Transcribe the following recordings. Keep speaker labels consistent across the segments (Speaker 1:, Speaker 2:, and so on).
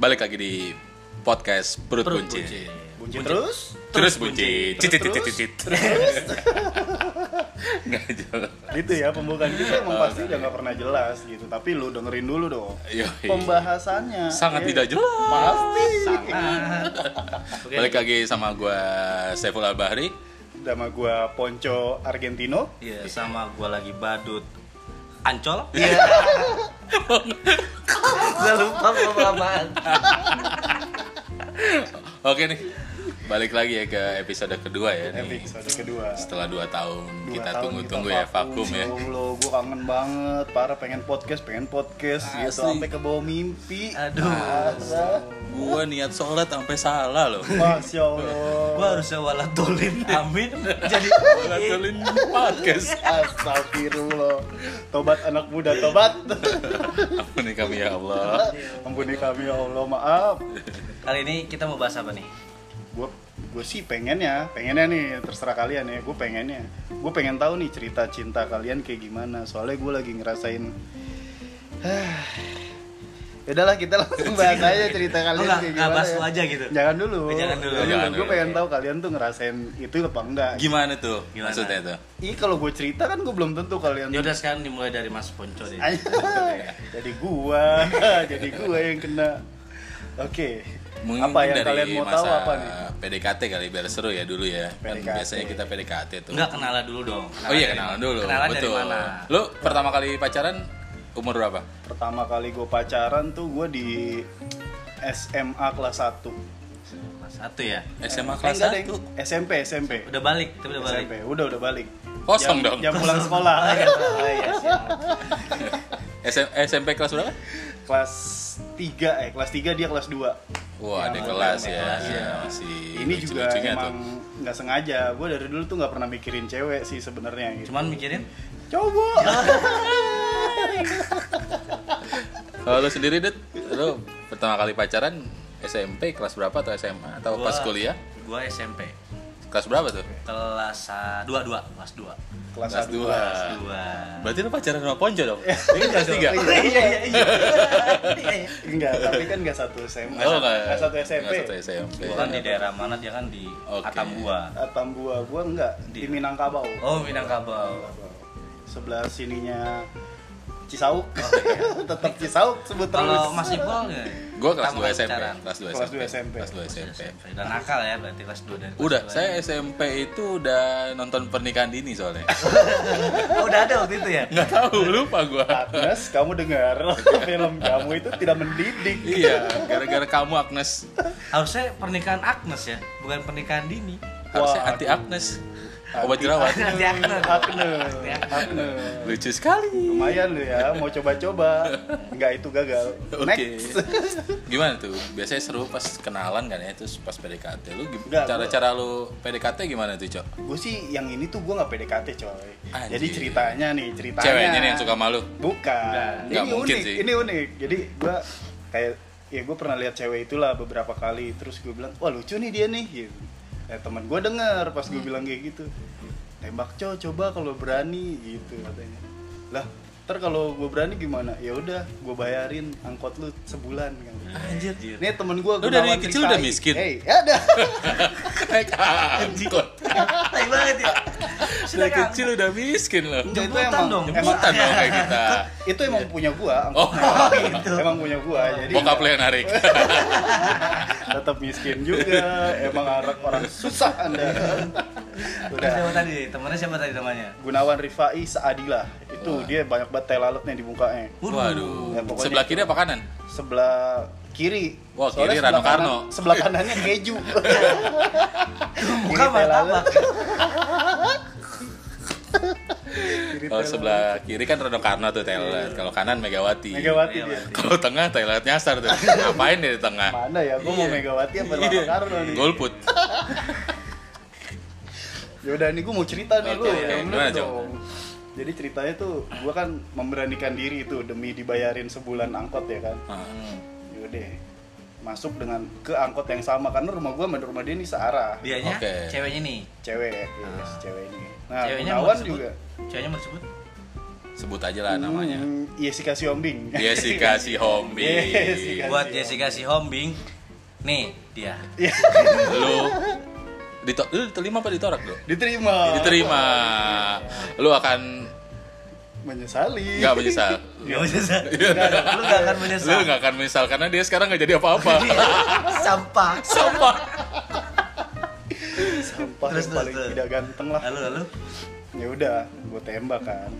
Speaker 1: Balik lagi di podcast Perut,
Speaker 2: Perut
Speaker 1: Buncit.
Speaker 2: buncit.
Speaker 3: Buncit terus?
Speaker 1: Terus buncit. Cit cit cit cit cit. Nggak jelas.
Speaker 3: Gitu ya pembukaan kita emang pasti udah nggak pernah jelas gitu. Tapi lu dengerin dulu dong.
Speaker 1: Yoi.
Speaker 3: Pembahasannya
Speaker 1: Iya,
Speaker 3: Iya.
Speaker 1: Sangat tidak jelas.
Speaker 3: pasti.
Speaker 2: Oke.
Speaker 1: Balik lagi sama gua Saiful Al-Bahri.
Speaker 3: Sama gua Ponco Argentino.
Speaker 2: Iya, sama gua lagi badut Ancol.
Speaker 1: Iya.
Speaker 2: Gua lupa pemahaman.
Speaker 1: Oke nih. Balik lagi ya ke episode kedua ya nih.
Speaker 3: Episode kedua.
Speaker 1: Setelah 2 tahun
Speaker 3: Dua
Speaker 1: kita
Speaker 3: tahun
Speaker 1: tunggu-tunggu ya vakum ya.
Speaker 3: Ya Allah, gua kangen banget. Para pengen podcast, pengen podcast gitu
Speaker 1: Asli.
Speaker 3: sampai ke bawah mimpi.
Speaker 2: Aduh.
Speaker 3: Masa?
Speaker 1: Gua niat sholat sampai salah loh.
Speaker 3: Masya Allah.
Speaker 2: Gua harusnya walatulin. Amin. Jadi
Speaker 1: Ngaturin podcast.
Speaker 3: Astagfirullah. Tobat anak muda, tobat.
Speaker 1: Ampuni kami ya Allah.
Speaker 3: Ampuni kami ya Allah, maaf.
Speaker 2: kali ini kita mau bahas apa nih?
Speaker 3: gue gue sih pengennya pengennya nih terserah kalian ya gue pengennya gue pengen tahu nih cerita cinta kalian kayak gimana soalnya gue lagi ngerasain ya udahlah kita langsung bahas aja cerita kalian
Speaker 2: Oh, nggak-
Speaker 3: kayak
Speaker 2: nggak
Speaker 3: gimana ya.
Speaker 2: bahas lu aja gitu?
Speaker 3: jangan dulu
Speaker 2: Oh, jangan dulu. ya.
Speaker 1: Jangan
Speaker 3: gue
Speaker 1: dulu.
Speaker 3: pengen tahu kalian tuh ngerasain itu apa enggak
Speaker 1: Gimana tuh?
Speaker 2: Gimana?
Speaker 1: Maksudnya tuh?
Speaker 3: Ih kalau gue cerita kan gue belum tentu kalian
Speaker 2: Ya udah sekarang dimulai dari Mas Ponco deh.
Speaker 3: jadi gua jadi gua yang kena oke
Speaker 1: Mungkin
Speaker 3: apa yang
Speaker 1: dari
Speaker 3: kalian mau
Speaker 1: masa
Speaker 3: tahu apa nih
Speaker 1: PDKT kali biar seru ya dulu ya. Kan
Speaker 3: PDKT.
Speaker 1: biasanya kita PDKT tuh.
Speaker 2: Enggak kenalan dulu dong.
Speaker 1: oh iya
Speaker 2: dari-
Speaker 1: kenalan dulu.
Speaker 2: Kenalan
Speaker 1: Betul.
Speaker 2: dari mana?
Speaker 1: Lu pertama kali pacaran umur berapa?
Speaker 3: Pertama kali gue pacaran tuh gue di SMA kelas 1
Speaker 2: Mas satu ya.
Speaker 1: SMA kelas
Speaker 3: Eh, enggak, Deng.
Speaker 1: 1.
Speaker 3: SMP, SMP
Speaker 2: Udah balik, tapi udah balik.
Speaker 3: SMP, udah udah balik
Speaker 1: Kosong
Speaker 3: Jam-
Speaker 1: dong.
Speaker 3: Jam pulang sekolah
Speaker 2: Oh, iya, siap.
Speaker 1: SM- SMP kelas berapa?
Speaker 3: Kelas 3, eh kelas 3 dia kelas 2
Speaker 1: Wah, ada
Speaker 3: Yang
Speaker 1: kelas
Speaker 2: ada
Speaker 1: ya.
Speaker 2: kelas,
Speaker 1: Ya,
Speaker 2: ya.
Speaker 1: Masih
Speaker 3: Ini juga
Speaker 1: lucu-lucunya
Speaker 3: emang
Speaker 1: tuh.
Speaker 3: nggak sengaja Gue dari dulu tuh nggak pernah mikirin cewek sih sebenarnya gitu
Speaker 2: Cuman mikirin
Speaker 3: Coba
Speaker 1: Iya. Kalau lu sendiri, Dit, lu pertama kali pacaran SMP kelas berapa atau SMA atau pas
Speaker 2: gua-
Speaker 1: kuliah?
Speaker 2: Gua SMP.
Speaker 1: Kelas berapa tuh?
Speaker 2: Kelas 2 2, kelas 2.
Speaker 3: Kelas
Speaker 1: Kelas
Speaker 3: 2
Speaker 1: dua.
Speaker 2: Kelas 2.
Speaker 1: Berarti lu pacaran sama Ponjo dong? Ini kan kelas tiga.
Speaker 3: Iya.
Speaker 2: iya iya iya
Speaker 3: Enggak, tapi kan nggak satu SMA
Speaker 1: Oh,
Speaker 3: Nggak satu SMP
Speaker 1: Nggak satu SMP.
Speaker 2: Gua kan di daerah mana dia kan di
Speaker 1: Iya. Oke.
Speaker 2: Atambua
Speaker 3: Atambua, gue enggak
Speaker 1: Iya.
Speaker 3: Di
Speaker 2: Di-
Speaker 3: Minangkabau
Speaker 2: oh Minangkabau
Speaker 3: sebelah sininya Cisauk tetap Cisauk sebut terus
Speaker 2: kalau Mas Iqbal nggak
Speaker 1: Gue kelas 2
Speaker 2: Pertama kali
Speaker 1: SMP.
Speaker 2: pacaran.
Speaker 1: Kelas 2
Speaker 3: Kelas
Speaker 1: SMP.
Speaker 3: dua SMP.
Speaker 1: Kelas 2
Speaker 2: Kelas
Speaker 1: SMP.
Speaker 2: SMP dan nakal ya berarti kelas 2 dan kelas
Speaker 1: Udah,
Speaker 2: dua.
Speaker 1: saya SMP itu udah nonton pernikahan dini soalnya.
Speaker 2: oh, udah ada waktu itu ya
Speaker 1: Nggak tahu, lupa gua.
Speaker 3: Agnes kamu dengar film kamu itu tidak mendidik
Speaker 1: iya, gara-gara kamu Agnes.
Speaker 2: harusnya pernikahan Agnes ya bukan pernikahan Dini
Speaker 1: Harusnya
Speaker 3: Wah,
Speaker 1: anti Agnes. Obat jerawat.
Speaker 2: Nanti Agnes
Speaker 3: Agnes Agnes
Speaker 1: Lucu sekali.
Speaker 3: lumayan lu ya mau coba-coba nggak itu gagal
Speaker 1: Oke.
Speaker 3: next
Speaker 1: Gimana tuh? Biasanya seru pas kenalan kan ya, terus pas PDKT. Lu gim-
Speaker 3: Nggak,
Speaker 1: cara-cara lu PDKT gimana tuh, Cok?
Speaker 3: gue sih yang ini tuh gue nggak PDKT coy
Speaker 1: Anjir.
Speaker 3: jadi ceritanya nih ceritanya
Speaker 1: Ceweknya nih yang suka malu.
Speaker 3: Bukan.
Speaker 1: Nggak
Speaker 3: ini
Speaker 1: mungkin
Speaker 3: unik,
Speaker 1: sih.
Speaker 3: ini unik. Jadi gua kayak ya gue pernah lihat cewek itulah beberapa kali terus gue bilang, "Wah, lucu nih dia nih." gitu. Eh, teman gue denger pas gue bilang kayak gitu. Tembak cow, coba kalau berani gitu katanya. Lah, ntar kalau gue berani gimana? Ya udah, gue bayarin angkot lu sebulan kan.
Speaker 2: anjir
Speaker 3: Nih temen gue
Speaker 1: Lu dari kecil udah miskin?
Speaker 3: Hei, ada.
Speaker 1: Naik angkot.
Speaker 2: tai banget ya
Speaker 1: Dari kecil udah miskin loh.
Speaker 3: Enggak, itu
Speaker 2: Jemputan
Speaker 3: emang,
Speaker 2: dong,
Speaker 3: emang
Speaker 1: Jemputan dong kayak kita.
Speaker 3: itu emang punya gue.
Speaker 1: Oh,
Speaker 3: Emang punya gue. Jadi
Speaker 1: bokap lu yang narik.
Speaker 3: tetap miskin juga emang arak orang susah anda
Speaker 2: udah
Speaker 3: udah
Speaker 2: siapa tadi temennya siapa tadi namanya
Speaker 3: Gunawan Rifai seadilah itu dia banyak banget tai lalatnya di bungkanya
Speaker 1: Waduh.
Speaker 3: Ya, pokoknya
Speaker 1: Sebelah kiri apa kanan?
Speaker 3: sebelah kiri
Speaker 1: Wah,
Speaker 3: Soalnya
Speaker 1: kiri
Speaker 3: sebelah
Speaker 1: Rano Karno. Iya,
Speaker 3: kanan- sebelah kanannya keju
Speaker 2: bukan
Speaker 3: Kiri tai
Speaker 2: martabak
Speaker 3: lalat,
Speaker 1: ya?
Speaker 3: kiri
Speaker 1: Kalau Oh,
Speaker 3: tai
Speaker 1: sebelah kiri kan Rano Karno tuh Thailand, kalau kanan Megawati.
Speaker 3: lalat. Iya. Megawati
Speaker 1: iya.
Speaker 3: dia
Speaker 2: Megawati.
Speaker 1: Kalau tengah Thailand nyasar tuh. Ngapain dia di tengah?
Speaker 3: mana ya gue mau Megawati apa
Speaker 1: Iya,
Speaker 3: Rano
Speaker 1: dia.
Speaker 3: Karno nih
Speaker 1: Golput.
Speaker 3: Yaudah Ya nih gue mau cerita nih
Speaker 1: Oke,
Speaker 3: lu
Speaker 1: oke.
Speaker 3: yang lu
Speaker 1: Gimana, Jo?
Speaker 3: dong. Jadi ceritanya tuh gue kan memberanikan diri itu demi dibayarin sebulan angkot ya kan.
Speaker 1: Hmm.
Speaker 3: Yaudah masuk dengan ke angkot yang sama karena rumah gue sama rumah dia ini searah.
Speaker 2: dianya
Speaker 1: Oke.
Speaker 2: ceweknya nih Ah.
Speaker 3: Cewek, yes, cewek ini. Nah
Speaker 2: ceweknya mau
Speaker 3: Gunawan
Speaker 2: disebut?
Speaker 3: juga
Speaker 2: ceweknya mau disebut
Speaker 1: sebut aja lah namanya Iya.
Speaker 3: Hmm, Jessica Siombing.
Speaker 1: Jessica si Hombi Iya.
Speaker 3: Jessica.
Speaker 2: Buat Jessica si Hombing. Nih, dia.
Speaker 1: lu dito lu diterima apa ditorak lu
Speaker 3: Oh. Diterima.
Speaker 1: diterima lu akan
Speaker 3: Menyesali.
Speaker 1: nggak menyesal
Speaker 2: Gak menyesal. Lu gak akan
Speaker 1: Iya. lu
Speaker 2: menyesal.
Speaker 1: nggak akan menyesal karena dia sekarang nggak jadi apa-apa
Speaker 2: Sampah.
Speaker 1: sampah
Speaker 3: Sampah
Speaker 2: Terus,
Speaker 3: yang
Speaker 2: terus,
Speaker 3: paling
Speaker 2: terus.
Speaker 3: tidak ganteng lah.
Speaker 2: Lalu lalu.
Speaker 3: Ya udah, gue tembak kan.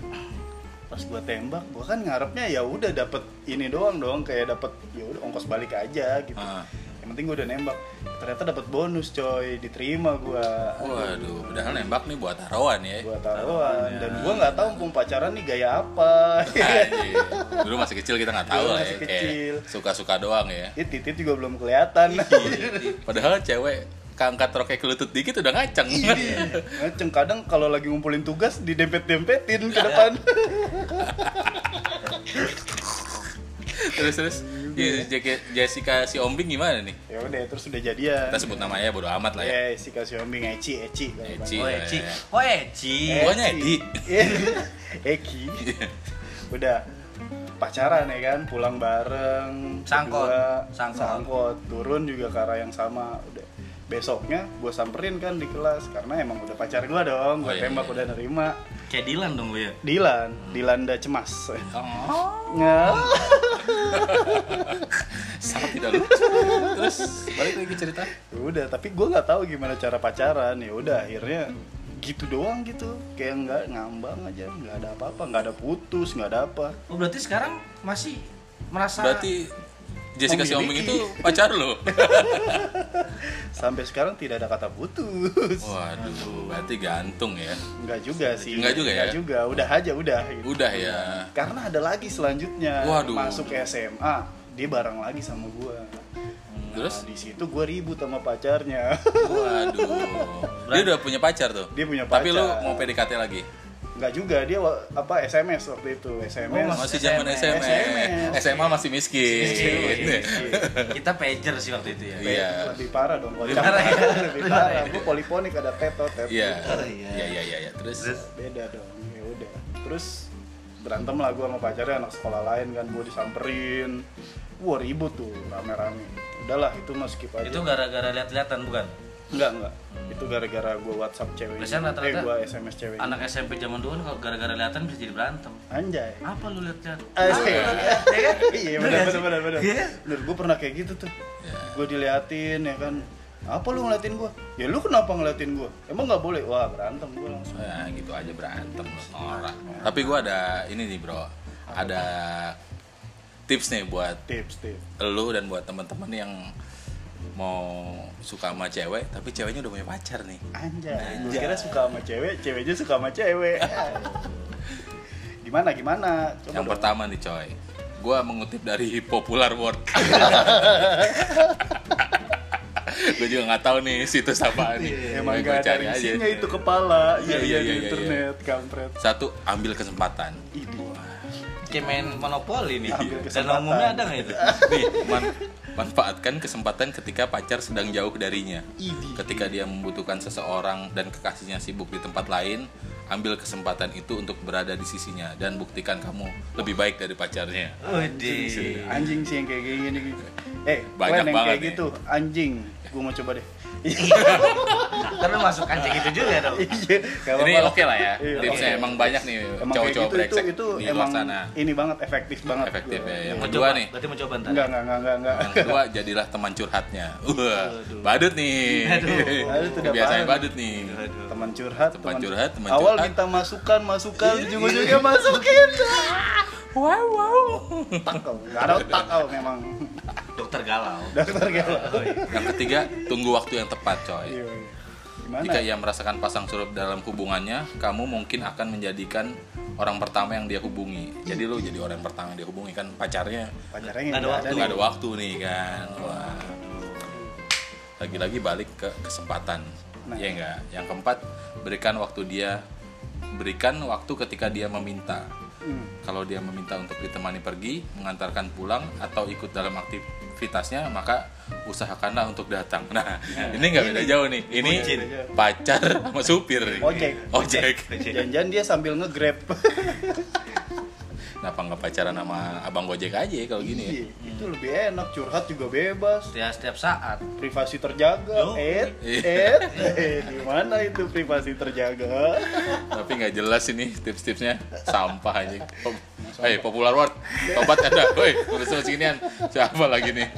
Speaker 3: Pas gue tembak, gue kan ngarepnya ya udah dapet ini doang dong, kayak dapet ya udah ongkos balik aja gitu.
Speaker 1: Ah.
Speaker 3: Yang penting gue udah nembak. Ternyata dapet bonus coy, diterima gue.
Speaker 1: waduh padahal nembak nih buat taruhan ya
Speaker 3: Gue taruhan dan gue nggak tahu mumpung pacaran nih gaya apa.
Speaker 1: Anjir. dulu masih kecil kita nggak tahu
Speaker 3: Iya. Dulu
Speaker 1: lah ya
Speaker 3: masih kecil.
Speaker 1: kayak suka-suka doang ya
Speaker 3: Ya titit juga belum kelihatan.
Speaker 1: padahal cewek keangkat roknya ke lutut dikit udah ngaceng
Speaker 3: Iya. Ngeceng Eh, kadang kalau lagi ngumpulin tugas didempet-dempetin ke depan.
Speaker 1: terus terus
Speaker 3: Iya.
Speaker 1: Jessica- Jessica si Ombing gimana nih
Speaker 3: ya udah terus udah jadian.
Speaker 1: kita sebut namanya bodo amat lah ya
Speaker 3: Ya, si Kasiombing Eci, Eci. kalau
Speaker 1: Eci.
Speaker 2: Oh
Speaker 1: Iya.
Speaker 2: Eci. Oh Eci.
Speaker 3: Eh.
Speaker 1: pokoknya Edi Iya.
Speaker 3: Bang. Eki. Udah pacaran ya kan, pulang bareng.
Speaker 2: Sangkot.
Speaker 3: berdua,
Speaker 2: Sangkot.
Speaker 3: sangkot. Turun juga ke arah yang sama. Udah besoknya gue samperin kan di kelas karena emang udah pacar gue dong gue
Speaker 1: Oh, iya,
Speaker 3: tembak
Speaker 1: iya.
Speaker 3: udah nerima
Speaker 2: Kayak Dilan dong lu ya.
Speaker 3: Dilan Dilanda cemas
Speaker 1: oh,
Speaker 3: Nggak.
Speaker 1: sangat tidak lucu terus balik lagi cerita
Speaker 3: Ya udah tapi gue nggak tahu gimana cara pacaran ya udah akhirnya gitu doang gitu kayak nggak ngambang aja nggak ada apa-apa nggak ada putus nggak ada apa
Speaker 2: Oh berarti sekarang masih merasa
Speaker 1: berarti Jessica si Ombing itu
Speaker 3: Memiliki.
Speaker 1: pacar lo
Speaker 3: sampai sekarang tidak ada kata putus
Speaker 1: waduh berarti gantung ya
Speaker 3: nggak juga sih
Speaker 1: Nggak juga
Speaker 3: Nggak
Speaker 1: ya?
Speaker 3: juga udah aja udah gitu.
Speaker 1: udah ya
Speaker 3: karena ada lagi selanjutnya
Speaker 1: Waduh.
Speaker 3: masuk SMA dia bareng lagi sama gua Nah,
Speaker 1: terus
Speaker 3: di situ gua ribut sama pacarnya
Speaker 1: waduh dia udah punya pacar tuh
Speaker 3: Dia punya
Speaker 1: tapi lu
Speaker 3: pacar.
Speaker 1: mau PDKT lagi
Speaker 3: nggak juga dia wa- apa SMS waktu itu SMS
Speaker 2: Oh,
Speaker 1: masih zaman
Speaker 2: SMS.
Speaker 1: SMA SMA masih miskin
Speaker 3: Iya.
Speaker 2: kita pager sih waktu itu ya.
Speaker 1: Iya.
Speaker 3: lebih parah dong kalau
Speaker 2: Lebih
Speaker 3: zaman
Speaker 2: parah ya?
Speaker 3: sekarang lebih
Speaker 2: Lebih parah
Speaker 3: parah
Speaker 2: ya?
Speaker 3: gua poliponik ada teto teto
Speaker 1: Iya.
Speaker 2: Oh, iya.
Speaker 1: Iya iya iya iya. Terus
Speaker 2: Terus
Speaker 3: beda dong ya udah terus berantem lah gue sama pacarnya anak sekolah lain kan gue disamperin wah ribut tuh rame-rame udahlah itu mah skip aja
Speaker 2: itu gara-gara lihat-lihatan bukan?
Speaker 3: enggak enggak itu gara-gara gue whatsapp cewek
Speaker 2: Biasanya
Speaker 3: eh
Speaker 2: rata-rata
Speaker 3: gue sms cewek
Speaker 2: Anak SMP zaman dulu kan kalau gara-gara lihat-lihatan bisa jadi berantem.
Speaker 3: anjay
Speaker 2: Apa lu lihat-lihat?
Speaker 3: Asik.
Speaker 2: iya, kan?
Speaker 3: iya
Speaker 2: Bener
Speaker 3: benar
Speaker 2: gak
Speaker 3: benar
Speaker 2: sih?
Speaker 3: benar benar
Speaker 2: Iya.
Speaker 3: benar gue pernah kayak gitu tuh gue diliatin ya kan apa lu ngeliatin gue ya lu kenapa ngeliatin gue emang nggak boleh wah berantem gue langsung
Speaker 1: nah, gitu aja berantem lu, norak. Tapi gua ada ini nih, Bro. Ada tips nih buat
Speaker 3: tips tips
Speaker 1: lu dan buat teman-teman yang mau suka sama cewek tapi ceweknya udah punya pacar nih.
Speaker 3: Anjay, gue kira suka sama cewek, ceweknya suka sama cewek. gimana gimana? Coba
Speaker 1: Yang
Speaker 3: dong.
Speaker 1: pertama nih, coy. Gua mengutip dari Popular World. gue juga nggak tahu nih situs apaan nih.
Speaker 3: Iya, Ya, Emang
Speaker 1: Gua
Speaker 3: gak ada isinya itu kepala,
Speaker 1: Iya, iya,
Speaker 3: iya iya di
Speaker 1: iya, iya.
Speaker 3: internet, kampret.
Speaker 1: Satu, ambil kesempatan.
Speaker 3: Ini.
Speaker 2: Kayak main monopoli nih.
Speaker 3: Ambil
Speaker 2: Dan
Speaker 3: kesempatan.
Speaker 2: umumnya ada nggak itu?
Speaker 1: Nih, man- manfaatkan kesempatan ketika pacar sedang jauh darinya.
Speaker 3: Idi.
Speaker 1: Ketika dia membutuhkan seseorang dan kekasihnya sibuk di tempat lain, ambil kesempatan itu untuk berada di sisinya dan buktikan kamu lebih baik dari pacarnya.
Speaker 2: Wih,
Speaker 3: Anjing sih yang kayak gini gini. Eh,
Speaker 1: Banyak
Speaker 3: kalian yang
Speaker 1: banget eh.
Speaker 3: kayak
Speaker 1: nih.
Speaker 3: gitu, anjing. Gue mau coba deh.
Speaker 2: Tapi masuk anjing itu juga dong.
Speaker 3: Iya, gak
Speaker 1: Ini
Speaker 3: apa-apa.
Speaker 1: oke lah ya.
Speaker 3: Iya,
Speaker 1: Tipsnya
Speaker 3: oke.
Speaker 1: emang banyak nih
Speaker 3: Emang kayak
Speaker 1: cowok-cowok
Speaker 3: gitu, itu,
Speaker 1: brengsek
Speaker 3: itu
Speaker 1: di luar
Speaker 3: emang
Speaker 1: sana.
Speaker 3: ini banget efektif banget.
Speaker 1: Efektif
Speaker 3: gua.
Speaker 1: ya, yang
Speaker 3: Iya.
Speaker 1: Nah.
Speaker 2: Mau
Speaker 1: kedua
Speaker 2: coba,
Speaker 1: nih.
Speaker 2: Berarti mau coba ntar.
Speaker 3: Enggak, enggak, enggak, enggak, enggak.
Speaker 1: Yang kedua jadilah teman curhatnya. Wah, badut nih.
Speaker 2: Aduh,
Speaker 3: badut udah
Speaker 1: Biasanya
Speaker 3: badut.
Speaker 1: badut nih.
Speaker 3: Teman curhat,
Speaker 1: Teman curhat, teman
Speaker 3: Awal
Speaker 1: curhat. Iya.
Speaker 3: minta masukan, masukan, ujung-ujungnya masukin.
Speaker 1: Wow, wow.
Speaker 3: Otak kau, nggak ada otak kau memang.
Speaker 2: Dokter galau.
Speaker 3: Dokter
Speaker 1: Iya,
Speaker 3: galau.
Speaker 1: Yang ketiga, tunggu waktu yang tepat, coy.
Speaker 3: Iya, iya. Gimana?
Speaker 1: Jika ia merasakan pasang surut dalam hubungannya, kamu mungkin akan menjadikan orang pertama yang dia hubungi. Jadi lu jadi orang pertama yang dia hubungi kan pacarnya
Speaker 3: Pacarnya yang
Speaker 2: Nggak ada
Speaker 3: nggak
Speaker 1: tuh
Speaker 3: nih.
Speaker 1: gak ada waktu nih kan. Wah. Lagi-lagi balik ke kesempatan.
Speaker 3: Nah.
Speaker 1: Ya enggak. Yang keempat, berikan waktu dia berikan waktu ketika dia meminta.
Speaker 3: Hmm.
Speaker 1: Kalau dia meminta untuk ditemani pergi, mengantarkan pulang, atau ikut dalam aktivitasnya, maka usahakanlah untuk datang. Nah, ini nggak beda jauh nih. Ini
Speaker 2: Bucin.
Speaker 1: pacar sama supir. nih.
Speaker 3: Ojek.
Speaker 1: Ojek.
Speaker 3: Jangan-jangan dia sambil nge-grab.
Speaker 1: Kenapa nggak pacaran sama abang gojek aja ya kalau gini ya?
Speaker 3: Iya, itu lebih enak, curhat juga bebas.
Speaker 2: Setiap, Ya, setiap saat.
Speaker 3: Privasi terjaga.
Speaker 2: Yo.
Speaker 3: Eh,
Speaker 1: Iya.
Speaker 3: eh, eh, di mana itu privasi terjaga?
Speaker 1: Tapi nggak jelas ini tips-tipsnya sampah aja. Hei, popular word, tobat ada. Woi, tulis tulis ginian. Siapa lagi nih?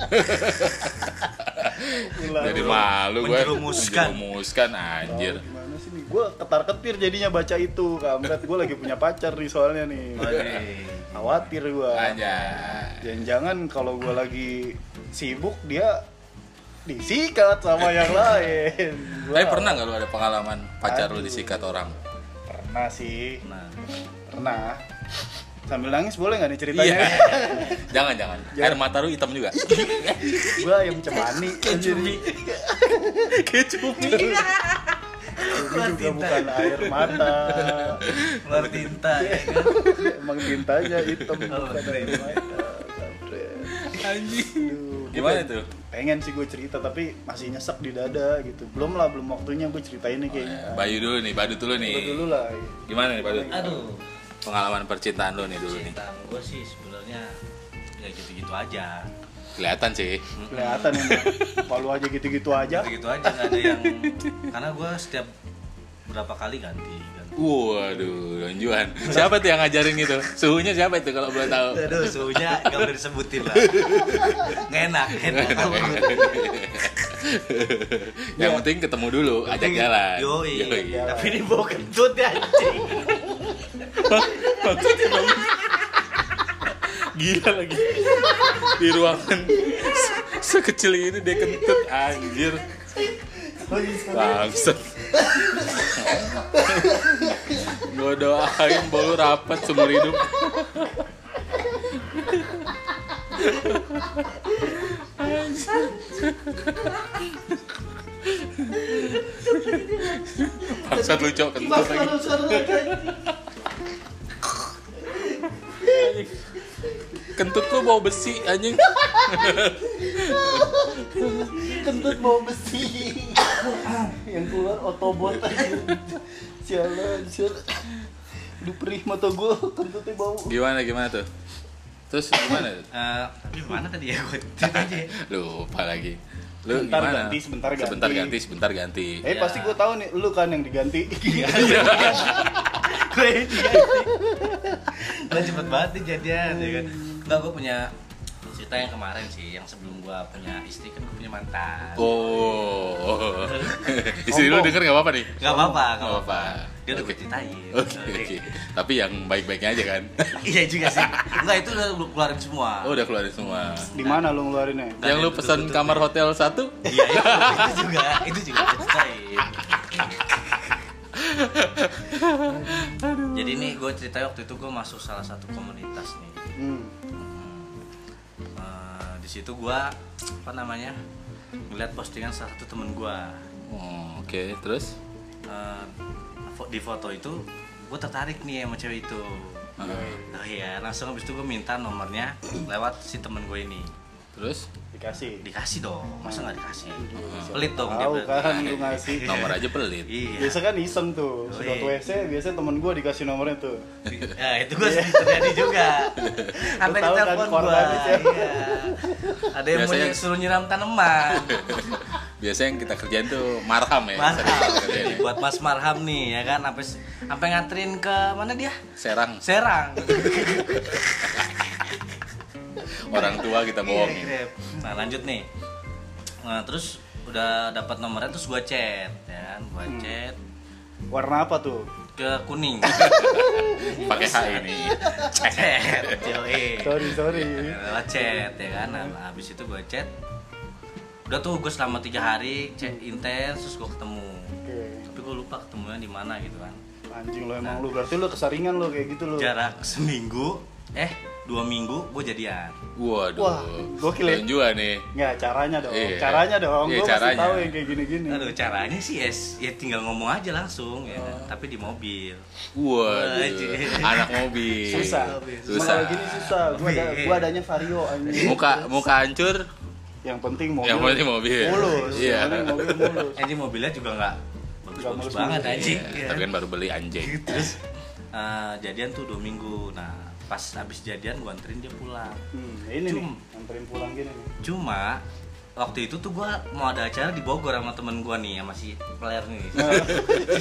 Speaker 3: Ular.
Speaker 1: Jadi malu gue.
Speaker 2: Menjerumuskan.
Speaker 1: Menjerumuskan
Speaker 3: Tahu
Speaker 1: anjir.
Speaker 3: Gimana sih nih? Gue ketar-ketir jadinya baca itu, Kamret. Gue lagi punya pacar nih soalnya nih. Khawatir gue.
Speaker 1: Aja.
Speaker 3: Jangan-jangan kalau gue lagi sibuk dia disikat sama yang lain. Gua
Speaker 1: Tapi Eh, pernah nggak lu ada pengalaman pacar lu disikat orang?
Speaker 3: Pernah sih.
Speaker 2: Nah,
Speaker 3: Pernah. Sambil nangis boleh nggak nih ceritanya?
Speaker 1: Iya. jangan jangan. Air mata lu hitam juga.
Speaker 3: gue ayam cemani. Jadi
Speaker 1: Kecumi.
Speaker 3: ini juga bukan air mata.
Speaker 2: keluar tinta ya kan.
Speaker 3: Iya. Emang tintanya hitam
Speaker 2: Oh,
Speaker 3: bukan air mata. Kampret.
Speaker 1: Anjing.
Speaker 3: Aduh, gua
Speaker 1: Gimana
Speaker 3: pengen-
Speaker 1: tuh?
Speaker 3: Pengen sih gue cerita tapi masih nyesek di dada gitu. Belum lah, belum waktunya gue ceritain nih kayaknya.
Speaker 1: Bayu dulu nih, Badut dulu
Speaker 3: Gua
Speaker 1: Oh, iya. nih.
Speaker 3: dulu lah. iya.
Speaker 1: Gimana nih Badut?
Speaker 2: Aduh,
Speaker 1: Pengalaman percintaan lu nih dulu nih.
Speaker 2: cinta gue sih sebenarnya nggak gitu-gitu aja.
Speaker 1: Kelihatan sih.
Speaker 3: Kelihatan ini. Palu aja gitu-gitu aja.
Speaker 2: Gitu-gitu aja nggak ada yang. Karena gue setiap berapa kali ganti. ganti.
Speaker 1: Waduh, donjuan. Siapa tuh yang ngajarin itu? Suhunya siapa itu kalau boleh tahu?
Speaker 2: Aduh, suhunya nggak boleh disebutin lah. Nggak enak, nggak enak.
Speaker 1: yang penting ketemu dulu, ajak jalan.
Speaker 2: Yoi.
Speaker 1: Yoi.
Speaker 2: Tapi ini bau kentut ya anjing.
Speaker 1: Gila lagi. Di ruangan se- sekecil ini dia kentut anjir. Bangsat. Gue doain bau lu rapat seumur hidup. Bangsat lu cok kentut lagi. Kentut lu bau besi anjing.
Speaker 3: Kentut mau besi. yang keluar otobot aja. Sialan, sial. Aduh perih mata gue, kentutnya bau.
Speaker 1: Gimana gimana tuh? Terus gimana? tuh?
Speaker 2: Eh, tapi mana tadi ya gue cerita aja. ya.
Speaker 1: Lupa lagi. Lu
Speaker 3: Sebentar
Speaker 1: gimana?
Speaker 3: ganti, sebentar ganti.
Speaker 1: Sebentar ganti, sebentar ganti.
Speaker 2: Iya.
Speaker 3: Eh pasti gue tahu nih, lu kan yang diganti.
Speaker 2: Gue ini ganti. Gue cepet banget nih jadian ya kan. Enggak gue punya cerita yang kemarin sih, yang sebelum gue punya istri kan gue punya mantan.
Speaker 1: Oh. Istri lu denger gak apa-apa nih?
Speaker 2: Gak apa-apa, gak
Speaker 1: Nggak
Speaker 2: apa-apa. Dia udah
Speaker 1: Oke.
Speaker 2: gue ceritain.
Speaker 1: Oke, oke. Tapi yang baik-baiknya aja kan.
Speaker 2: Iya juga sih. Enggak itu udah lu keluarin semua.
Speaker 1: Oh, udah keluarin semua.
Speaker 3: Di mana lu ngeluarinnya?
Speaker 1: Yang lu pesan kamar hotel satu?
Speaker 2: Iya itu, itu juga, itu juga gue ceritain. Jadi nih gue cerita waktu itu gue masuk salah satu komunitas nih.
Speaker 3: Hmm.
Speaker 2: Hmm. Eh, di situ gue apa namanya ngeliat postingan salah satu temen gue.
Speaker 1: Oh, oke, terus?
Speaker 2: Eh, fo- di foto itu gue tertarik nih sama cewek itu.
Speaker 1: Heeh.
Speaker 2: Oh iya, langsung habis itu gue minta nomornya lewat si temen gue ini.
Speaker 1: Terus?
Speaker 3: Dikasih.
Speaker 2: Dikasih dong, masa nggak dikasih? Pelit dong dia
Speaker 3: Tahu
Speaker 2: berarti.
Speaker 3: kan lu ngasih.
Speaker 1: Nomor aja pelit.
Speaker 2: Iya.
Speaker 3: Biasa kan iseng tuh,
Speaker 2: Yoi.
Speaker 3: sedot WC biasanya temen gue dikasih nomornya tuh
Speaker 2: Ya itu gue terjadi juga. Sampai
Speaker 3: Lu tahu kan
Speaker 2: ditelepon gua.
Speaker 3: korbannya siapa?
Speaker 2: Iya. Ada yang mau
Speaker 1: Biasanya-
Speaker 2: nyuruh- suruh nyiram tanaman.
Speaker 1: Biasanya yang kita kerjain tuh marham ya.
Speaker 2: Marham.
Speaker 1: sering kita kerjain ya.
Speaker 2: Buat Mas Marham nih ya kan sampai sampai nganterin ke mana dia?
Speaker 1: Serang
Speaker 2: Serang.
Speaker 1: orang tua kita
Speaker 2: Iya,
Speaker 1: bohongin.
Speaker 2: Grab. Nah, lanjut nih. Nah, terus udah dapat nomornya terus gua chat ya kan, gua chat
Speaker 3: Warna apa tuh?
Speaker 2: ke kuning.
Speaker 1: Pakai H
Speaker 3: Iya.
Speaker 1: ini.
Speaker 2: chat. Yoi.
Speaker 3: Sorry, sorry
Speaker 2: lewat chat ya kan nah, habis itu gue chat udah tuh gue selama tiga hari chat intens terus gue ketemu
Speaker 3: Oke.
Speaker 2: tapi gue lupa ketemunya di mana gitu kan Iya,
Speaker 3: Anjing lo emang lu, berarti lu kesaringan lo kayak gitu lo
Speaker 2: jarak seminggu eh dua minggu gue jadian
Speaker 1: Waduh.
Speaker 3: Wah, gokil ya.
Speaker 1: Dan juga nih.
Speaker 3: Nggak, caranya dong.
Speaker 1: Iya.
Speaker 3: Caranya dong.
Speaker 1: Iya,
Speaker 3: Gue masih
Speaker 1: caranya. iya.
Speaker 3: tahu yang kayak gini-gini.
Speaker 2: Aduh caranya sih ya, ya tinggal ngomong aja langsung ya, tapi di mobil.
Speaker 1: Waduh.
Speaker 2: Wajib.
Speaker 1: Anak mobil.
Speaker 3: Susah. Cuma
Speaker 1: Susah.
Speaker 3: Kalau gini susah. Gue ada,
Speaker 2: Iya.
Speaker 3: gua adanya vario anjing.
Speaker 1: Muka muka hancur.
Speaker 3: Yang penting mobil.
Speaker 1: Yang penting mobil.
Speaker 3: Mulus.
Speaker 1: Iya.
Speaker 3: Yang penting mobil mulus.
Speaker 2: Anjing Eh, mobilnya juga nggak bagus-bagus
Speaker 3: mulus-mulus.
Speaker 2: banget anjing.
Speaker 1: Iya, Tapi kan baru beli anjing.
Speaker 2: Terus eh, jadian tuh dua minggu. Nah pas abis jadian gue anterin dia pulang.
Speaker 3: Hmm, ya ini nih,
Speaker 2: Cum.
Speaker 3: anterin pulang gini nih.
Speaker 2: Cuma waktu itu tuh gue mau ada acara di Bogor sama temen gue nih sama si player nih.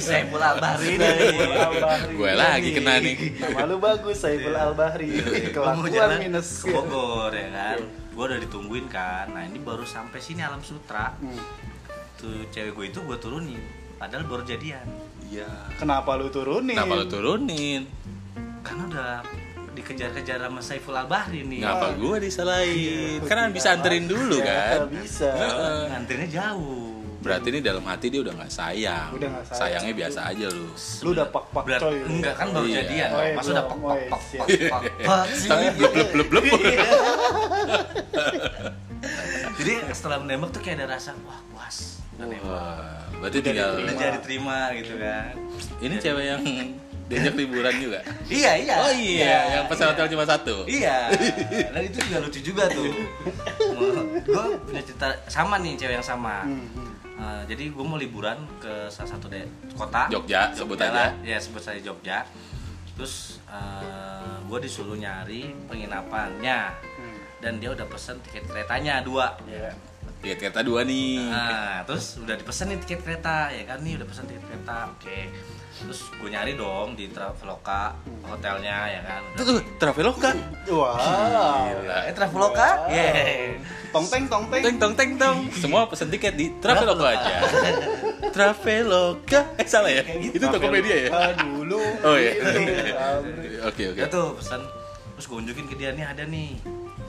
Speaker 2: si Saiful Albahri ini.
Speaker 3: Saiful Albahri.
Speaker 1: Gue lagi kena nih.
Speaker 3: Nama lu bagus, Saiful Al-Bahri.
Speaker 2: Gua mau
Speaker 3: Kelakuan
Speaker 2: jalan
Speaker 3: minus.
Speaker 2: ke Bogor ya kan. Gue udah ditungguin kan. Nah ini baru sampai sini Alam Sutra.
Speaker 3: Hmm.
Speaker 2: Tuh cewek gue itu gue turunin. Padahal baru jadian.
Speaker 1: Iya.
Speaker 3: Kenapa lu turunin?
Speaker 1: Kenapa lu turunin?
Speaker 2: Kan udah dikejar-kejar sama Saiful Albahri nih.
Speaker 1: Ngapa gue disalahin? Iya,
Speaker 3: Iya.
Speaker 1: Karena bisa anterin dulu
Speaker 3: Ternyata
Speaker 1: kan.
Speaker 3: Iya, bisa.
Speaker 1: Heeh.
Speaker 2: Eh, Ngantrinya jauh.
Speaker 1: Berarti ini dalam hati dia udah nggak sayang.
Speaker 3: Udah nggak sayang.
Speaker 1: Sayangnya biasa aja lu.
Speaker 3: Lu udah pak-pak
Speaker 2: Berat-
Speaker 3: coy.
Speaker 2: enggak kan baru
Speaker 1: Iya.
Speaker 2: jadian.
Speaker 3: Oh, iya,
Speaker 2: Mas udah
Speaker 3: belum.
Speaker 2: pok
Speaker 3: Oh,
Speaker 2: pok
Speaker 3: iya,
Speaker 2: pok
Speaker 3: siap.
Speaker 2: pok pok, pok.
Speaker 1: Tapi blub blub blub blub.
Speaker 2: Jadi setelah menembak tuh kayak ada rasa wah puas. Udah nembak.
Speaker 1: Wah, berarti tinggal
Speaker 2: Udah jadi terima gitu kan.
Speaker 1: ini cewek yang diajak liburan juga.
Speaker 2: Iya iya.
Speaker 1: Oh iya, yang pesan hotel cuma satu.
Speaker 2: Iya, dan itu juga lucu juga tuh. gue punya cerita sama nih cewek yang sama.
Speaker 3: Hmm, hmm.
Speaker 2: Eh, jadi gue mau liburan ke salah satu daer- kota
Speaker 1: Jogja, sebut
Speaker 2: lah.
Speaker 1: aja.
Speaker 2: ya sebut saja Jogja terus gue disuruh nyari penginapannya
Speaker 3: Hmm.
Speaker 2: dan dia udah pesen tiket keretanya dua
Speaker 3: Iya.
Speaker 1: Tiket kereta dua nih.
Speaker 2: Nah,
Speaker 3: Ah.
Speaker 2: terus udah dipesan nih tiket kereta ya kan nih udah pesan tiket kereta oke terus gue nyari dong di traveloka hotelnya ya kan
Speaker 1: Tuh, tuh, Traveloka.
Speaker 3: Wow.
Speaker 1: Gila.
Speaker 2: eh traveloka
Speaker 3: Wow.
Speaker 2: Yeay.
Speaker 3: Tong teng tong teng.
Speaker 1: Teng tong teng tong. Semua pesen tiket di Traveloka aja. Traveloka. Eh salah ya? Itu Tokopedia ya?
Speaker 3: Aduh lu.
Speaker 1: Oh iya.
Speaker 3: gitu, Amri.
Speaker 1: Oke oke.
Speaker 2: dia tuh pesan terus gue unjukin ke dia nih ada nih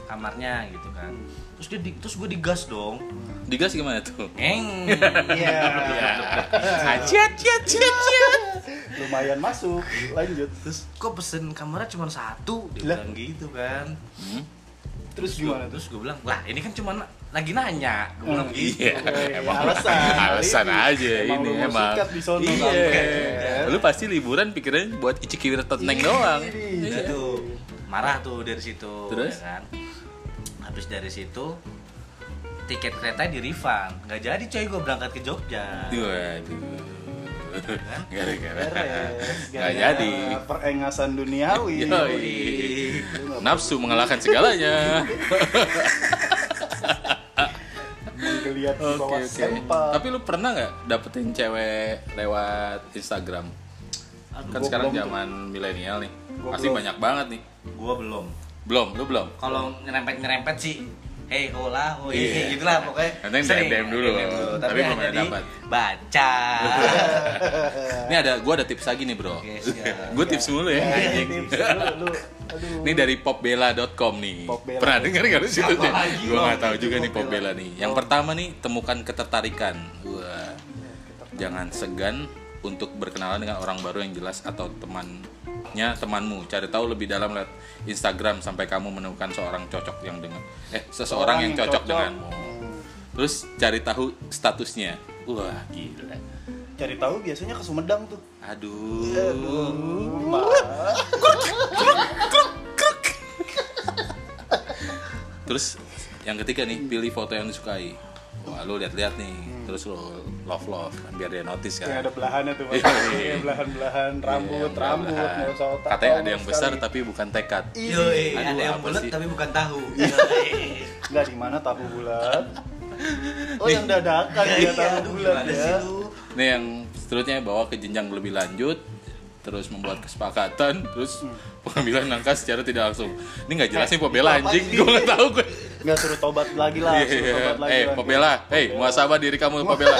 Speaker 2: kamarnya gitu kan terus dia di- terus gue digas dong
Speaker 1: Digas gimana tuh?
Speaker 2: eng
Speaker 3: Iya. Ah.
Speaker 1: Aciat, ciat, ciat, ciat.
Speaker 3: Lumayan masuk. Lanjut.
Speaker 2: terus kok pesen kamarnya cuma satu dia
Speaker 3: Lah.
Speaker 2: bilang gitu kan
Speaker 1: Hmm?
Speaker 3: Terus gimana tuh?
Speaker 2: terus gue bilang lah ini kan cuma lagi nanya gue bilang
Speaker 3: Hmm.
Speaker 2: gitu
Speaker 1: Iya,
Speaker 3: Oke,
Speaker 1: emang
Speaker 3: alasan.
Speaker 1: alasan
Speaker 3: Ini.
Speaker 1: aja
Speaker 3: Emang
Speaker 1: ini
Speaker 3: lu mau
Speaker 1: emang.
Speaker 3: sikat di sono,
Speaker 1: iya.
Speaker 3: kan?
Speaker 1: Lu pasti liburan pikirannya buat iciki tenteng doang.
Speaker 3: Iya.
Speaker 2: Udah tuh marah tuh dari situ
Speaker 1: Terus?
Speaker 2: ya kan habis dari situ tiket kereta di refund nggak jadi coy gue berangkat ke Jogja
Speaker 1: Iya.
Speaker 3: Iya.
Speaker 1: Waduh. Gara-gara.
Speaker 3: Beres.
Speaker 1: Gak
Speaker 3: Gara-gara
Speaker 1: jadi. Iya,
Speaker 3: Perengasan
Speaker 1: Yoi.
Speaker 3: duniawi. Lu nggak
Speaker 1: Nafsu mengalahkan segalanya.
Speaker 3: Geliat di
Speaker 1: Oke
Speaker 3: bawah
Speaker 1: oke.
Speaker 3: sempak.
Speaker 1: Tapi lu pernah nggak dapetin cewek lewat Instagram?
Speaker 2: Aduh,
Speaker 1: Kan
Speaker 3: gua
Speaker 1: sekarang
Speaker 3: belum tuh.
Speaker 1: zaman milenial nih.
Speaker 3: Gua
Speaker 1: Pasti
Speaker 3: belum.
Speaker 1: banyak banget nih.
Speaker 2: gue belum
Speaker 1: Belum, lu belum.
Speaker 2: kalau nyerempet nyerempet sih hey hola hoi
Speaker 1: Iya.
Speaker 2: gitu lah pokoknya
Speaker 1: Nanti yang
Speaker 2: sering.
Speaker 1: DM dulu,
Speaker 2: DM tapi,
Speaker 1: tapi belum
Speaker 2: hanya
Speaker 1: ada
Speaker 2: di
Speaker 1: dapat.
Speaker 2: baca
Speaker 3: Iya.
Speaker 1: Ini ada gua ada tips lagi nih, Bro.
Speaker 2: Oke, siap.
Speaker 1: Gue tips mulu ya.
Speaker 3: Ini
Speaker 1: anjing.
Speaker 3: Iya, tips, lu- lu- aduh.
Speaker 1: Ini dari popbella.com nih.
Speaker 3: Popbella.
Speaker 1: Pernah dengar nggak lu situ
Speaker 2: Apa
Speaker 1: nih?
Speaker 2: lagi
Speaker 1: Gue
Speaker 2: lo?
Speaker 1: nggak tahu
Speaker 2: Itu
Speaker 1: juga nih
Speaker 2: Popbella.
Speaker 1: popbella nih. Yang pertama nih temukan ketertarikan. Wah. Jangan segan untuk berkenalan dengan orang baru yang jelas atau temannya temanmu. Cari tahu lebih dalam lewat Instagram sampai kamu menemukan seorang cocok yang dengan eh seseorang yang, cocok, denganmu. Terus cari tahu statusnya. Wah, gila.
Speaker 3: Cari tahu biasanya ke Sumedang tuh.
Speaker 1: Aduh. Terus yang ketiga nih, pilih foto yang disukai. Wah, lu lihat-lihat nih. Terus lu love love kan biar dia notice
Speaker 3: Yang
Speaker 1: kan.
Speaker 3: ada belahannya tuh, Mas.
Speaker 1: Yoi.
Speaker 3: Yang belahan-belahan rambut,
Speaker 1: Iya,
Speaker 3: rambut,
Speaker 1: mudah-mudahan.
Speaker 3: nggak usah otak.
Speaker 1: Katanya ada
Speaker 3: sama
Speaker 1: yang besar
Speaker 3: sekali.
Speaker 1: tapi bukan tekad.
Speaker 2: Yoi,
Speaker 1: Aduh,
Speaker 2: Iya, ada yang
Speaker 1: apa
Speaker 2: bulat
Speaker 1: sih?
Speaker 2: tapi bukan tahu
Speaker 3: Enggak di mana tahu bulat. Oh yang dadakan dia tahu bulat
Speaker 2: gitu. gimana sih
Speaker 3: ya.
Speaker 2: lu?
Speaker 1: Ini yang seterusnya bawa ke jenjang lebih lanjut terus membuat kesepakatan terus
Speaker 3: Hmm.
Speaker 1: pengambilan langkah secara tidak langsung ini nggak jelas nih pembela
Speaker 3: Eh, apa
Speaker 1: anjing
Speaker 3: ini?
Speaker 1: gue nggak tahu gue
Speaker 3: Enggak suruh tobat lagi lah, suruh
Speaker 1: Iya.
Speaker 3: tobat lagi.
Speaker 1: Eh,
Speaker 3: lah.
Speaker 1: Pobela, eh, muasabah diri kamu Pobela.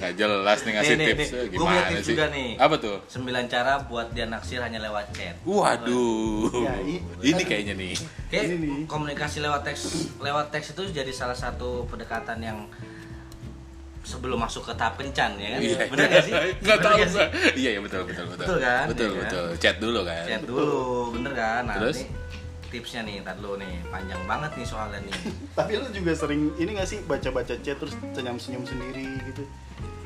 Speaker 1: Nggak jelas nih ngasih
Speaker 2: Nih, nih,
Speaker 1: tips.
Speaker 2: nih.
Speaker 1: Eh,
Speaker 2: Gua
Speaker 1: Gimana
Speaker 2: punya tips
Speaker 1: sih?
Speaker 2: juga nih.
Speaker 1: Apa tuh?
Speaker 2: sembilan cara buat dia naksir hanya lewat chat
Speaker 1: Waduh.
Speaker 2: Iya,
Speaker 3: Ya, i-
Speaker 1: ini kayaknya nih.
Speaker 2: Oke,
Speaker 3: Ini nih.
Speaker 2: komunikasi lewat teks lewat teks itu jadi salah satu pendekatan yang sebelum masuk ke tahap kencan ya kan?
Speaker 1: Iya,
Speaker 2: Bener gak sih?
Speaker 1: Nggak
Speaker 2: Bener
Speaker 1: tahu
Speaker 2: nggak
Speaker 1: gua. Iya, iya betul betul betul.
Speaker 2: Betul kan?
Speaker 1: Betul
Speaker 2: Iya kan?
Speaker 1: betul. Chat dulu kan.
Speaker 2: Lihat dulu, bener kan? Nah,
Speaker 1: Terus?
Speaker 2: ini tipsnya nih, tar dulu nih, panjang banget nih soalnya nih.
Speaker 1: Iya
Speaker 3: Tapi lu juga sering ini gak sih baca-baca chat terus senyum-senyum sendiri gitu.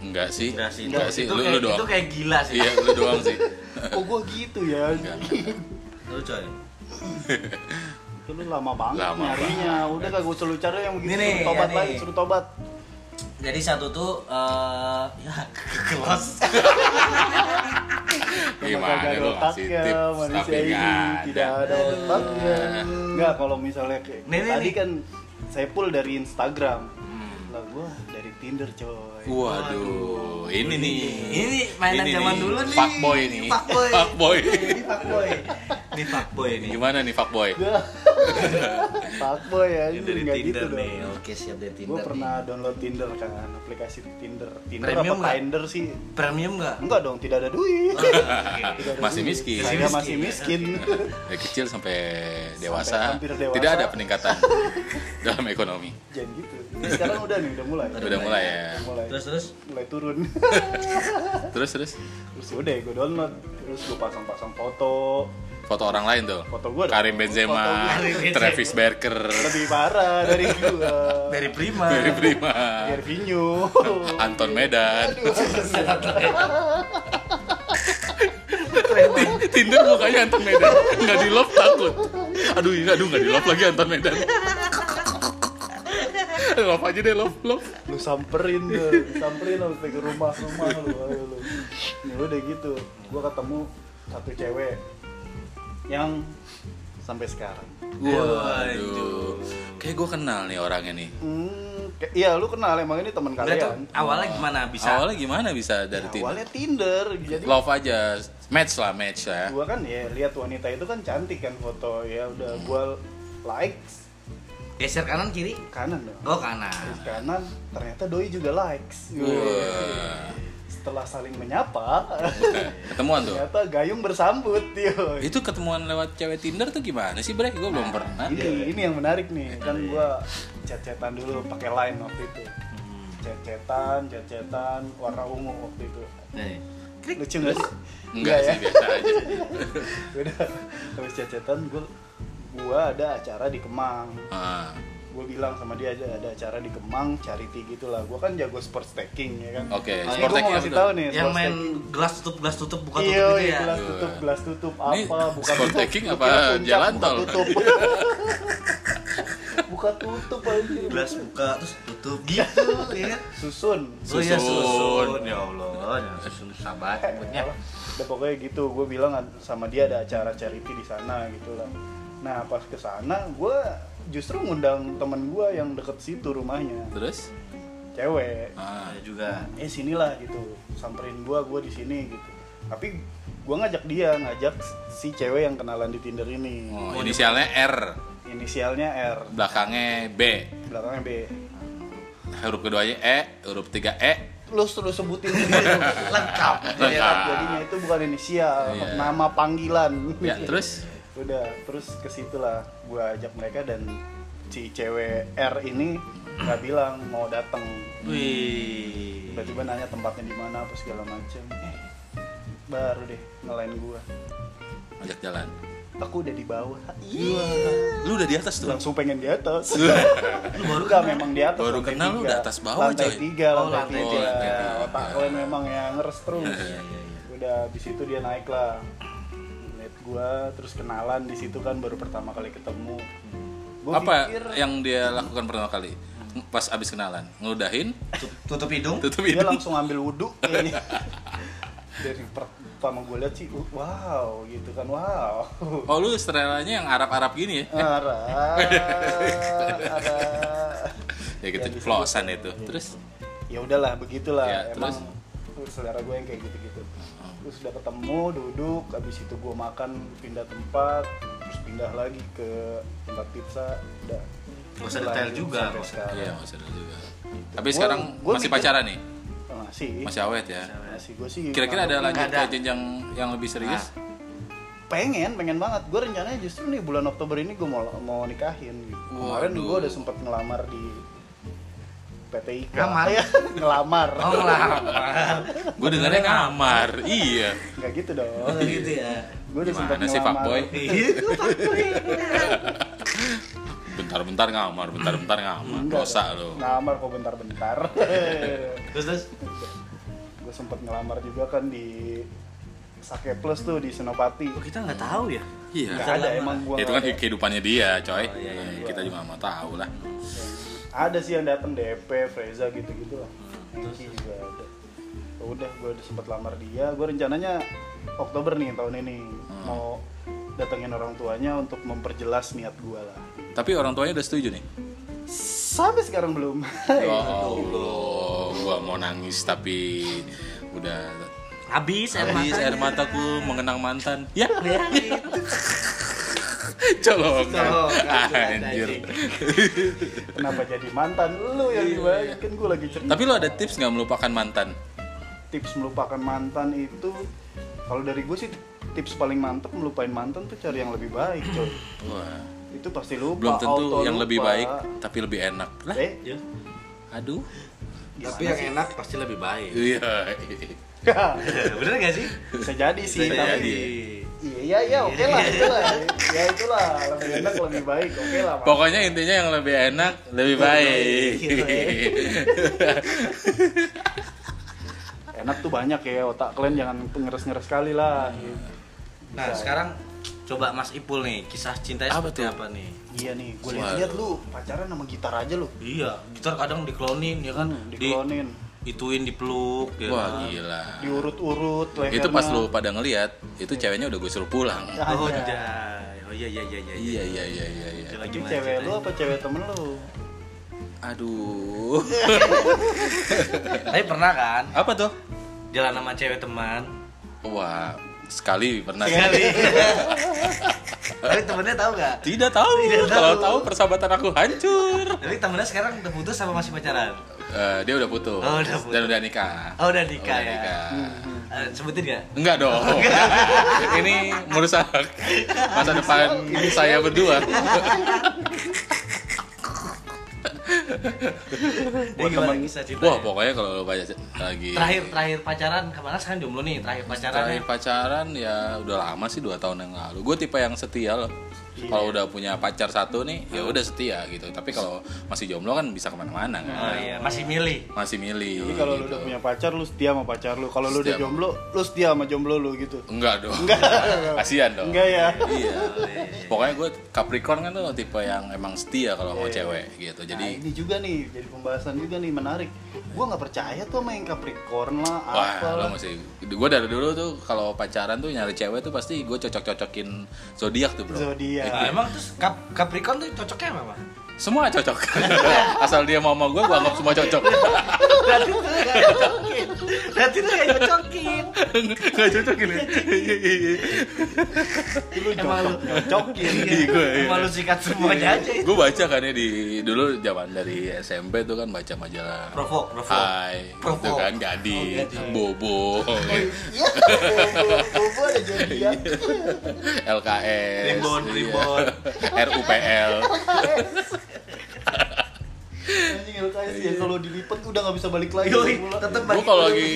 Speaker 1: Enggak sih.
Speaker 2: Enggak sih,
Speaker 1: Enggak
Speaker 2: itu-
Speaker 1: sih.
Speaker 2: Itu,
Speaker 1: Lu
Speaker 2: kayak,
Speaker 1: lu doang.
Speaker 2: itu kayak gila sih.
Speaker 1: Iya, lu doang sih.
Speaker 3: Oh gua gitu ya.
Speaker 1: Enggak, enggak, enggak.
Speaker 2: Lu coy.
Speaker 3: Itu lu lama banget
Speaker 1: Lama
Speaker 3: nyarinya. Udah kagak usah lu cari yang begitu
Speaker 2: Ini nih,
Speaker 3: suruh
Speaker 2: ya
Speaker 3: tobat
Speaker 2: nih.
Speaker 3: lagi, suruh tobat.
Speaker 2: Jadi satu tuh eh ya kekelos.
Speaker 1: Gimana
Speaker 3: Kagak ada
Speaker 1: gua kasih
Speaker 3: otaknya,
Speaker 1: tips tapi
Speaker 3: manusia ini
Speaker 1: enggak ada.
Speaker 3: tidak ada otaknya. Enggak kalau misalnya kayak
Speaker 2: Nih, nih,
Speaker 3: tadi
Speaker 2: nih.
Speaker 3: kan saya pull dari Instagram.
Speaker 1: Hmm.
Speaker 3: Lah gua dari Tinder coy.
Speaker 1: Waduh, ini nih.
Speaker 2: Ini mainan
Speaker 1: Ini
Speaker 2: zaman dulu nih.
Speaker 1: Fuckboy nih.
Speaker 2: Fuckboy.
Speaker 1: Fuckboy.
Speaker 2: Ini fuckboy. Ini fuckboy nih.
Speaker 1: Gimana nih fuckboy?
Speaker 3: Fuckboy ya,
Speaker 2: Ini dari
Speaker 3: enggak gitu
Speaker 2: Tinder nih.
Speaker 3: dong.
Speaker 2: Oke, siap dari Tinder.
Speaker 3: Gue
Speaker 2: nih.
Speaker 3: pernah download Tinder kan, aplikasi Tinder. Tinder
Speaker 2: Premium
Speaker 3: apa
Speaker 2: nggak?
Speaker 3: Tinder sih?
Speaker 2: premium enggak?
Speaker 3: Enggak dong, tidak ada duit. Tidak ada
Speaker 1: Masih
Speaker 3: duit.
Speaker 1: miskin.
Speaker 3: Saya
Speaker 2: Masih
Speaker 3: masih miskin.
Speaker 1: Dari kecil sampai dewasa,
Speaker 3: hampir dewasa.
Speaker 1: tidak ada peningkatan dalam ekonomi.
Speaker 3: Jangan gitu. Ini sekarang udah nih, udah mulai.
Speaker 1: Udah mulai ya.
Speaker 3: mulai.
Speaker 2: Terus terus
Speaker 3: mulai turun.
Speaker 1: Terus terus
Speaker 3: terus udah gue download, terus gue pasang-pasang foto.
Speaker 1: foto orang lain tuh.
Speaker 3: Foto gua dong.
Speaker 1: Karim
Speaker 3: Foto gua.
Speaker 1: Benzema,
Speaker 2: Karim Benzema.
Speaker 1: Travis Barker,
Speaker 3: Lebih parah dari gue.
Speaker 2: dari Prima.
Speaker 1: Barry Prima,
Speaker 3: Gervinho.
Speaker 1: Anton Medan. Tinder mukanya Anton Medan. Enggak di love takut. Aduh, ini aduh enggak di love lagi Anton Medan. Eh, love aja deh love love.
Speaker 3: lu samperin tuh, samperin sampai ke rumah rumah lu, ayo lu. Nih udah gitu, gua ketemu satu cewek yang sampai sekarang.
Speaker 1: Waduh. Kayak gue kenal nih orangnya nih.
Speaker 3: Hmm, ke- iya lu kenal emang ini teman
Speaker 2: Enggak tuh
Speaker 3: kalian.
Speaker 2: awalnya gimana bisa?
Speaker 1: Awalnya gimana bisa dari
Speaker 3: Ya,
Speaker 1: Tinder?
Speaker 3: awalnya Tinder, jadi
Speaker 1: Love aja, match lah match lah.
Speaker 3: gua kan ya lihat wanita itu kan cantik kan foto ya udah gua like
Speaker 2: Geser kanan kiri.
Speaker 3: kanan dong.
Speaker 2: Oh kanan.
Speaker 3: Terus kanan ternyata doi juga likes.
Speaker 1: Wah.
Speaker 3: Setelah saling menyapa, Iya.
Speaker 1: Ketemuan tuh.
Speaker 3: ternyata gayung bersambut, yoi.
Speaker 1: Itu ketemuan lewat cewek Tinder tuh gimana sih, Bre? Gue belum pernah.
Speaker 2: Iya,
Speaker 3: ini ini yang menarik nih
Speaker 1: Iya,
Speaker 3: kan gua chat-chatan dulu pakai line waktu itu Hmm. chat-chatan chat-chatan warna ungu waktu itu
Speaker 2: Nih.
Speaker 3: lucu nggak sih
Speaker 1: Enggak
Speaker 3: ya
Speaker 1: sih, biasa aja.
Speaker 3: udah habis chat-chatan gua gua ada acara di Kemang
Speaker 1: Ah,
Speaker 3: gua bilang sama dia aja ada acara di Kemang charity gitulah gua kan jago sports taking ya kan
Speaker 1: Oke,
Speaker 3: Nah, ini
Speaker 1: sports
Speaker 3: gua
Speaker 1: taking
Speaker 3: mau
Speaker 1: apa
Speaker 3: ngasih
Speaker 1: tuh?
Speaker 3: tahu nih
Speaker 2: Yang
Speaker 3: sports
Speaker 2: main
Speaker 3: taking.
Speaker 2: gelas tutup gelas tutup buka tutup
Speaker 3: Iya,
Speaker 2: gitu ya.
Speaker 3: gelas tutup, gelas tutup
Speaker 1: Ini
Speaker 3: apa? Buka
Speaker 1: sport
Speaker 3: tutup.
Speaker 1: taking
Speaker 3: Gua
Speaker 1: apa
Speaker 3: kira puncak,
Speaker 1: jalan
Speaker 3: buka
Speaker 1: tol?
Speaker 3: Tutup. buka tutup anjir.
Speaker 2: Gelas buka terus tutup gitu ya.
Speaker 3: Susun.
Speaker 2: Oh iya
Speaker 1: Susun.
Speaker 2: susun. Ya Allah, ya susun sabar nyebutnya.
Speaker 3: Udah Iya, pokoknya gitu, gue bilang sama dia ada acara charity di sana gitu lah. Nah pas ke sana, gue justru ngundang temen gue yang deket situ rumahnya,
Speaker 1: Terus?
Speaker 3: cewek.
Speaker 1: Ah,
Speaker 2: Ada ya juga.
Speaker 3: Eh sinilah gitu, samperin gue, gue di sini gitu. Tapi gue ngajak dia, ngajak si cewek yang kenalan di Tinder ini.
Speaker 1: oh, inisialnya R,
Speaker 3: Inisialnya R,
Speaker 1: belakangnya B,
Speaker 3: belakangnya B.
Speaker 1: huruf keduanya E, huruf tiga E.
Speaker 3: Lu terus sebutin sendiri.
Speaker 2: Lengkap.
Speaker 1: Lengkap.
Speaker 3: Jadinya itu bukan inisial,
Speaker 1: Iya.
Speaker 3: nama panggilan.
Speaker 1: Ya, terus?
Speaker 3: udah terus ke situ lah gue ajak mereka dan si cewek R ini nggak bilang mau datang
Speaker 2: Wih.
Speaker 3: tiba-tiba nanya tempatnya di mana apa segala macem eh, baru deh ngelain gue
Speaker 1: Ajak jalan.
Speaker 3: aku udah di bawah
Speaker 1: Lu udah di atas tuh.
Speaker 3: langsung pengen di atas
Speaker 2: Lu baru
Speaker 3: Enggak, memang di atas
Speaker 1: Baru
Speaker 3: lantai
Speaker 1: kenal lu
Speaker 3: tiga.
Speaker 1: udah atas bawah,
Speaker 3: lantai
Speaker 1: coy.
Speaker 3: tiga
Speaker 2: Oh,
Speaker 3: lantai
Speaker 2: lantai
Speaker 3: tiga
Speaker 1: tiga.
Speaker 3: otak kalian memang ya ngeres terus
Speaker 2: iya, iya.
Speaker 3: udah abis itu dia naik lah lihat gua terus kenalan di situ kan baru pertama kali ketemu Gua
Speaker 1: Apa
Speaker 3: pikir-
Speaker 1: yang dia lakukan pertama kali? Pas abis kenalan, ngeludahin,
Speaker 2: Tut- tutup hidung.
Speaker 1: tutup hidung.
Speaker 3: dia Iya, langsung ambil wudhu kayaknya dari pertama gue lihat sih uh, wow gitu kan wow
Speaker 1: Oh, lu setelahnya yang Arab-Arab gini ya?
Speaker 3: ara ara
Speaker 1: Ya gitu,
Speaker 3: Ya, di situ.
Speaker 1: plosan itu. Terus?
Speaker 3: ya udahlah begitulah
Speaker 1: Ya,
Speaker 3: emang
Speaker 1: terus?
Speaker 3: selera gue yang kayak gitu gitu terus udah ketemu duduk habis itu gue makan pindah tempat terus pindah lagi ke tempat pizza udah
Speaker 2: Gak usah detail
Speaker 3: Lanjut
Speaker 2: juga,
Speaker 3: sampai
Speaker 2: gak usah
Speaker 3: sekarang.
Speaker 1: Iya, maksudnya juga. Tapi
Speaker 3: Gua-
Speaker 1: sekarang
Speaker 3: gua
Speaker 1: masih
Speaker 3: mikir- Iya.
Speaker 1: pacaran nih?
Speaker 3: masih
Speaker 1: Masih awet ya?
Speaker 3: masih gue sih
Speaker 1: Kira-kira ada lanjut
Speaker 2: Nggak
Speaker 1: ke
Speaker 2: ada.
Speaker 1: jenjang yang lebih serius?
Speaker 3: pengen pengen banget gue rencananya justru nih bulan Oktober ini gue mau mau nikahin gitu. kemarin
Speaker 1: Waduh.
Speaker 3: gue udah sempet ngelamar di PTIK
Speaker 2: Ngamar.
Speaker 3: ya ngelamar
Speaker 2: Oh ngelamar.
Speaker 3: Ah.
Speaker 1: Gue dengarnya kamar. Iya.
Speaker 3: nggak gitu
Speaker 2: Oh
Speaker 3: dong
Speaker 2: gitu ya.
Speaker 3: gue udah sempat
Speaker 1: Gimana sih fuckboy?
Speaker 2: Itu
Speaker 1: Bentar-bentar ngamar, bentar-bentar ngamar.
Speaker 3: Enggak,
Speaker 1: Dosa lo.
Speaker 3: ngelamar kok bentar-bentar
Speaker 2: Terus terus.
Speaker 3: gue sempat ngelamar juga kan di Sake Plus tuh di Senopati
Speaker 2: Oh, kita nggak tahu ya.
Speaker 1: Iya.
Speaker 3: nggak
Speaker 2: bisa
Speaker 3: ada
Speaker 2: ngelamar.
Speaker 3: emang gue
Speaker 1: Ya, itu kan kehidupannya dia, coy.
Speaker 2: Oh, iya, iya,
Speaker 1: Eh,
Speaker 2: iya.
Speaker 1: Kita juga mau tahu lah.
Speaker 3: ada sih yang datang DP Freza gitu gitu lah Enki juga ada Ya udah gue udah sempat lamar dia gue rencananya Oktober nih tahun ini
Speaker 1: Hmm.
Speaker 3: mau datengin orang tuanya untuk memperjelas niat gue lah
Speaker 1: Tapi orang tuanya udah setuju nih.
Speaker 3: sampai sekarang belum
Speaker 1: Ya Allah, gua mau nangis tapi udah
Speaker 2: Habis air
Speaker 1: habis
Speaker 2: matanya.
Speaker 1: air mataku mengenang mantan. Ya,
Speaker 2: Ya, gitu.
Speaker 1: colongan.
Speaker 2: Colongan,
Speaker 1: Ah, Anjir.
Speaker 2: anjing.
Speaker 3: kenapa jadi mantan lu yang dibayar kan gue lagi cerita
Speaker 1: Iya. Tapi lo ada tips nggak melupakan mantan?
Speaker 3: tips melupakan mantan itu kalau dari gue sih tips paling mantep melupain mantan tuh cari yang lebih baik coy
Speaker 1: Wah,
Speaker 3: itu pasti
Speaker 1: belum
Speaker 3: lupa
Speaker 1: tentu
Speaker 3: auto
Speaker 1: yang
Speaker 3: lupa.
Speaker 1: lebih baik tapi lebih enak. Lah,
Speaker 3: eh
Speaker 2: Ya.
Speaker 1: aduh.
Speaker 2: Tapi yang enak pasti lebih baik.
Speaker 1: Iya.
Speaker 2: Bener gak sih?
Speaker 3: bisa jadi sih
Speaker 1: Bisa
Speaker 3: tapi
Speaker 1: jadi.
Speaker 3: iya iya iya, oke lah itulah ya itulah lebih enak lebih baik oke lah Pak.
Speaker 1: Pokoknya intinya yang lebih enak lebih baik.
Speaker 2: gitu ya.
Speaker 3: enak tuh banyak ya otak kalian jangan pengeres-ngeres kali lah
Speaker 2: Nah sekarang coba Mas Ipul nih kisah cintanya
Speaker 1: Apa
Speaker 2: seperti
Speaker 1: tuh?
Speaker 2: apa nih?
Speaker 3: iya nih gue lihat lu pacaran sama gitar aja lu
Speaker 2: Iya, gitar kadang diklonin ya kan,
Speaker 3: Hmm,
Speaker 2: di
Speaker 3: diklonin
Speaker 2: ituin dipeluk ya.
Speaker 1: Wah,
Speaker 2: kan?
Speaker 1: gila.
Speaker 3: diurut-urut
Speaker 1: Itu pas
Speaker 3: lehernya.
Speaker 1: lo pada ngelihat, itu ceweknya udah gue suruh pulang.
Speaker 2: Oh,
Speaker 3: Ada.
Speaker 2: anjay. Oh iya iya iya iya.
Speaker 1: Iya, iya, iya, iya, iya.
Speaker 2: Coba
Speaker 3: itu
Speaker 2: gimana
Speaker 3: cewek lu
Speaker 2: ceritanya?
Speaker 3: apa cewek temen lu
Speaker 1: Aduh.
Speaker 2: Tapi pernah kan
Speaker 1: Apa tuh?
Speaker 2: jalan sama cewek teman? Iya
Speaker 1: Wah, sekali pernah.
Speaker 2: Tapi temennya tahu nggak?
Speaker 1: Tidak tahu.
Speaker 2: Tidak tahu.
Speaker 1: Kalau tahu persahabatan aku hancur.
Speaker 2: Tapi temennya sekarang udah putus sama masih pacaran?
Speaker 1: Eh, dia udah putus.
Speaker 2: Oh, udah putus.
Speaker 1: Dan udah nikah.
Speaker 2: Oh udah nikah
Speaker 1: Udah
Speaker 2: ya. Oh,
Speaker 1: nikah.
Speaker 2: Eh, sebutin nggak?
Speaker 1: Enggak dong. Ini merusak masa depan saya berdua.
Speaker 2: Jadi gimana kisah ceritanya?
Speaker 1: Wah, pokoknya kalau lo baca lagi
Speaker 2: terakhir terakhir pacaran kemana sekarang jomblo nih terakhir pacaran
Speaker 3: ya?
Speaker 1: Terakhir pacaran ya udah lama sih dua tahun yang lalu. Gue tipe yang setia loh.
Speaker 3: Iya.
Speaker 1: Kalau udah punya pacar satu nih, ya udah setia gitu. Tapi kalau masih jomblo kan bisa kemana-mana kan.
Speaker 2: Oh iya, masih milih.
Speaker 1: Masih milih.
Speaker 3: Jadi Nah. kalau lu
Speaker 1: gitu.
Speaker 3: udah punya pacar, lu setia sama pacar lu. Kalau lu udah
Speaker 1: Setia sama-
Speaker 3: jomblo, lu setia sama jomblo lu gitu.
Speaker 1: Enggak dong. Kasihan dong.
Speaker 3: Enggak ya?
Speaker 1: Iya. Pokoknya gue Capricorn kan tuh tipe yang emang setia kalau mau cewek gitu.
Speaker 3: Nah,
Speaker 1: Jadi
Speaker 3: ini juga nih, jadi pembahasan juga nih menarik. Gua nggak percaya tuh sama yang Capricorn lah,
Speaker 1: Wah,
Speaker 3: apa
Speaker 1: lo
Speaker 3: lah.
Speaker 1: masih gue dari dulu tuh kalau pacaran tuh nyari cewek tuh pasti gue cocok-cocokin zodiak tuh, Bro.
Speaker 3: Zodiak.
Speaker 1: Iya.
Speaker 2: Nah, emang terus Cap- Capricorn tuh cocoknya sama apa?
Speaker 1: Semua cocok. Asal dia mau sama gue, gue anggap semua cocok.
Speaker 2: Berarti tuh gak cocokin. Berarti tuh gak cocokin.
Speaker 1: Gak cocok ini.
Speaker 3: Lu
Speaker 2: Emang lu
Speaker 3: cocok-cocokin.
Speaker 1: Iya, gua, iya.
Speaker 2: Emang lu sikat semuanya aja.
Speaker 1: gue baca kan ya di dulu zaman dari SMP tuh kan baca majalah
Speaker 2: Provo, Provo.
Speaker 1: Hai,
Speaker 2: Provo.
Speaker 1: gitu kan Gading, Bobo,
Speaker 3: Oh, Iya, bobo ada
Speaker 2: Iya.
Speaker 3: zodiak.
Speaker 1: LKS,
Speaker 2: Primbon,
Speaker 1: iya.
Speaker 2: Primbon.
Speaker 1: RUPL.
Speaker 3: Anjing LKS ya kalau dilipat udah nggak bisa balik lagi.
Speaker 2: Iya. Yoi,
Speaker 3: Pula.
Speaker 2: tetep
Speaker 1: gue
Speaker 2: balik.
Speaker 1: kalau lagi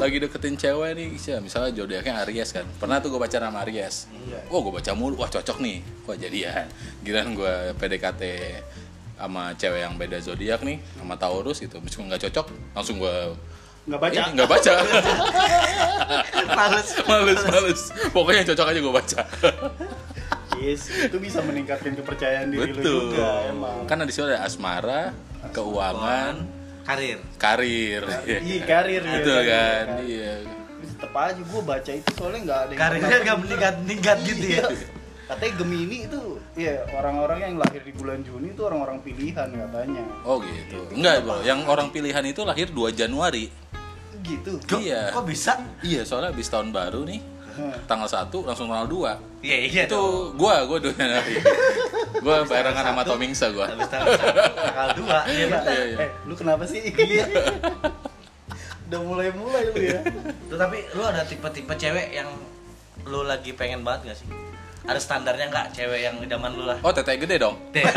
Speaker 1: lagi deketin cewek nih Sia, misalnya jodohnya Aries kan pernah tuh gue pacaran sama Aries
Speaker 3: Iya.
Speaker 1: wah gue baca mulu wah cocok nih wah jadian giliran gue PDKT sama cewek yang beda zodiak nih sama Taurus gitu meskipun nggak cocok langsung gue
Speaker 3: Nggak baca.
Speaker 2: Iya.
Speaker 1: ini, nggak baca
Speaker 2: Males.
Speaker 1: males males pokoknya yang cocok aja gue baca
Speaker 3: Yes, itu bisa meningkatkan kepercayaan diri lu
Speaker 1: betul
Speaker 3: juga emang.
Speaker 1: kan di situ ada asmara keuangan
Speaker 2: Karir.
Speaker 1: karir
Speaker 3: Iya, karir ya.
Speaker 1: betul kan iya
Speaker 3: Tetep aja gue baca itu soalnya nggak ada yang
Speaker 2: Karirnya gak meningkat-meningkat gitu ya.
Speaker 3: Iya. Katanya Gemini itu ya orang-orang yang lahir di bulan Juni itu orang-orang pilihan katanya.
Speaker 1: Oh gitu. Enggak, Bro. Yang orang pilihan itu lahir 2 Januari.
Speaker 3: Gitu.
Speaker 2: Kok,
Speaker 1: Iya.
Speaker 2: kok bisa?
Speaker 1: Iya, soalnya habis tahun baru nih. Tanggal 1 langsung tanggal 2.
Speaker 2: Iya, iya.
Speaker 1: Itu gua, gua 2 Januari. gua barengan sama
Speaker 2: satu.
Speaker 1: Tomingsa gua.
Speaker 2: Habis tanggal satu, tanggal dua. Iya, bener.
Speaker 1: Iya, iya.
Speaker 3: Eh, lu kenapa sih? Udah mulai-mulai lu ya.
Speaker 2: Tuh, tapi lu ada tipe-tipe cewek yang lu lagi pengen banget gak sih? ada standarnya nggak cewek yang idaman lu lah
Speaker 1: Oh, tete gede dong.
Speaker 2: Deh.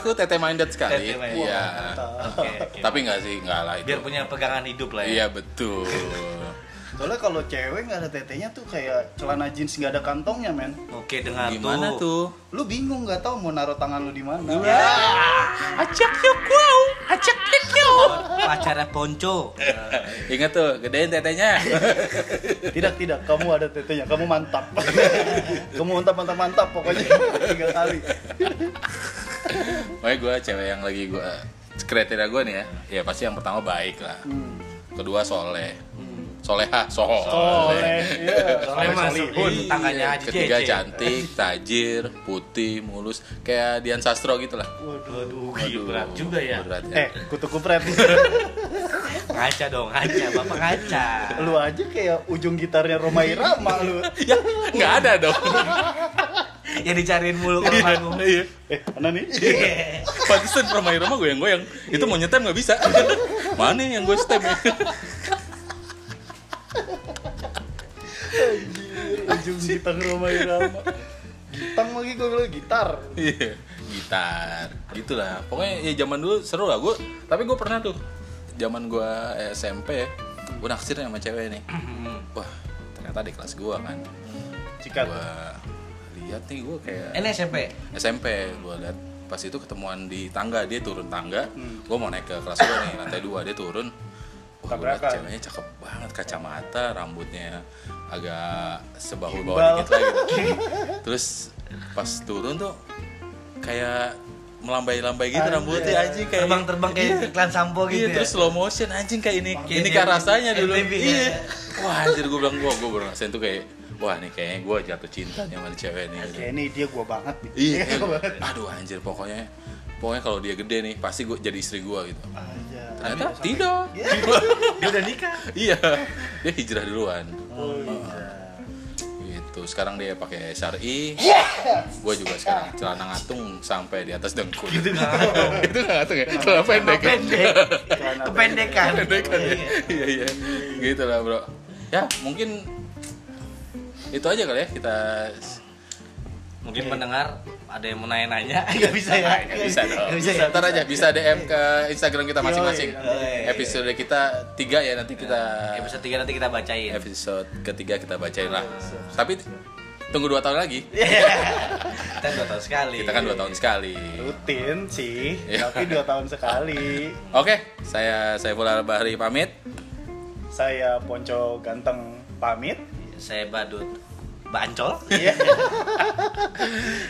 Speaker 1: Aku tete minded sekali.
Speaker 2: Tete minded.
Speaker 1: Iya.
Speaker 2: gitu. Oke, oke.
Speaker 1: Tapi nggak sih, nggak lah itu.
Speaker 2: biar punya pegangan hidup lah ya
Speaker 1: Iya, betul.
Speaker 3: Soalnya kalau cewek nggak ada tetenya tuh kayak celana jeans nggak ada kantongnya men.
Speaker 2: oke dengar
Speaker 1: Gimana
Speaker 2: tuh
Speaker 1: tuh?
Speaker 3: Lu bingung nggak tahu mau naruh tangan lu di mana.
Speaker 1: Acak yuk wow, acak yuk.
Speaker 2: pacarnya ponco
Speaker 1: Ingat tuh, gedein tetenya.
Speaker 3: Tidak tidak, kamu ada tetenya, kamu mantap. kamu mantap mantap mantap pokoknya tiga kali.
Speaker 1: Pokoknya gue cewek yang lagi gue kriteria gue nih ya, ya pasti yang pertama baik lah. Kedua soleh, soleha, soleh.
Speaker 3: Soleh, iya.
Speaker 2: Soleh
Speaker 3: Soleh
Speaker 2: masuk
Speaker 3: solihun.
Speaker 2: di- tangannya Haji
Speaker 1: Ketiga
Speaker 2: Cece.
Speaker 1: cantik, tajir, putih, mulus, kayak Dian Sastro gitu lah.
Speaker 3: Waduh.
Speaker 2: Waduh, berat juga ya
Speaker 1: Berat ya.
Speaker 3: Eh, kutu kupret.
Speaker 2: ngaca dong ngaca bapak ngaca
Speaker 3: lu aja kayak ujung gitarnya Roma Irama lu.
Speaker 1: ya, nggak ada dong.
Speaker 2: yang Ya dicariin mulu kalau manggung
Speaker 1: Iya.
Speaker 3: Eh, mana nih?
Speaker 1: Pantesan permain rumah goyang-goyang. Itu mau nyetem nggak bisa. Mana yang gue stem ya?
Speaker 3: ujung gitar ya, Roma Irama. Gitang lagi gue bilang gitar.
Speaker 1: Iya. Gitar, gitulah. Pokoknya ya zaman dulu seru lah gue. Tapi gue pernah tuh zaman eh, gue SMP, gue naksir sama cewek nih. Wah, ternyata di kelas gue kan.
Speaker 3: Cikat.
Speaker 1: Gue lihat nih gue kayak
Speaker 2: ini SMP
Speaker 1: SMP gue liat pas itu ketemuan di tangga dia turun tangga
Speaker 2: Hmm.
Speaker 1: gue mau naik ke kelas gue nih lantai dua dia turun Wah, gua liat
Speaker 3: Tabrakan.
Speaker 1: ceweknya cakep banget kacamata rambutnya agak sebahu
Speaker 3: Gimbal.
Speaker 1: bawah dikit lah gitu terus pas turun tuh kayak melambai-lambai gitu
Speaker 3: Anjay.
Speaker 1: rambutnya anjing kayak
Speaker 2: terbang-terbang
Speaker 1: Iya.
Speaker 2: kayak iklan sampo gitu
Speaker 1: Iya,
Speaker 2: ya
Speaker 1: terus slow motion anjing kayak ini
Speaker 2: Kayak
Speaker 1: ini kan
Speaker 2: di-
Speaker 1: rasanya dulu
Speaker 2: MTV ya.
Speaker 1: iya wah anjir gue bilang gue gue baru ngerasain tuh kayak wah nih kayaknya gue jatuh cinta nih sama cewek nih
Speaker 3: Kayak ini dia gua banget nih.
Speaker 1: Iya.
Speaker 3: Gua banget.
Speaker 1: Aduh anjir pokoknya pokoknya kalau dia gede nih pasti gue jadi istri gue gitu.
Speaker 3: Aja.
Speaker 1: Ternyata tidak.
Speaker 2: dia udah nikah
Speaker 1: Iya. Dia hijrah duluan.
Speaker 3: Oh, iya.
Speaker 1: Gitu. Sekarang dia pakai syari. Gue juga sekarang celana ngatung sampai di atas dengkul. Gitu nggak ngatung. Itu nggak ngatung ya. Celana pendek. ya?
Speaker 2: kan? pendek
Speaker 3: Celana
Speaker 2: kependekan
Speaker 1: Pendekan ya.
Speaker 2: Iya.
Speaker 1: Iya iya. Gitu lah bro. Ya mungkin itu aja kali ya kita
Speaker 2: mungkin pendengar ada yang mau nanya-nanya nggak bisa ya
Speaker 1: Nggak bisa dong.
Speaker 2: Nggak bisa ya?
Speaker 1: Ntar aja bisa DM ke Instagram kita masing-masing.
Speaker 2: Yoi.
Speaker 1: Episode kita tiga ya nanti kita
Speaker 2: episode 3 nanti kita
Speaker 1: Iya.
Speaker 2: bacain
Speaker 1: episode ketiga kita bacain lah. Tapi tunggu dua tahun lagi.
Speaker 2: Iya. kita dua tahun sekali
Speaker 1: Kita kan dua tahun sekali.
Speaker 3: Rutin sih,
Speaker 1: Iya.
Speaker 3: tapi dua tahun sekali.
Speaker 1: Oke, saya saya Saiful Bahri pamit.
Speaker 3: Saya Ponco Ganteng pamit.
Speaker 2: saya badut bancol
Speaker 3: Iya.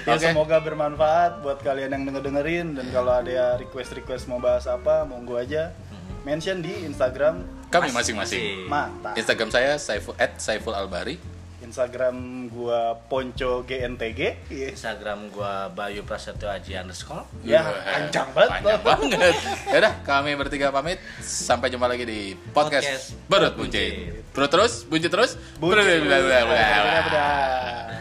Speaker 3: ya,
Speaker 1: Oke.
Speaker 3: semoga bermanfaat buat kalian yang denger-dengerin dan kalau ada request-request mau bahas apa, monggo aja
Speaker 1: Mhm.
Speaker 3: mention di Instagram
Speaker 1: Kami masing-masing.
Speaker 3: mantap.
Speaker 1: Instagram saya Saiful at Saiful Albahri.
Speaker 3: Instagram gua Ponco GNTG. Iya.
Speaker 2: Instagram gua Bayu Prasetyo Aji underscore
Speaker 3: Ya,
Speaker 1: Wah,
Speaker 3: panjang banget.
Speaker 1: Panjang banget. Yaudah, kami bertiga pamit. Sampai jumpa lagi di podcast,
Speaker 2: Podcast
Speaker 1: Berut Buncit. Berut terus, buncit terus.
Speaker 3: Buncit.
Speaker 1: Berut-
Speaker 3: Bener-bener.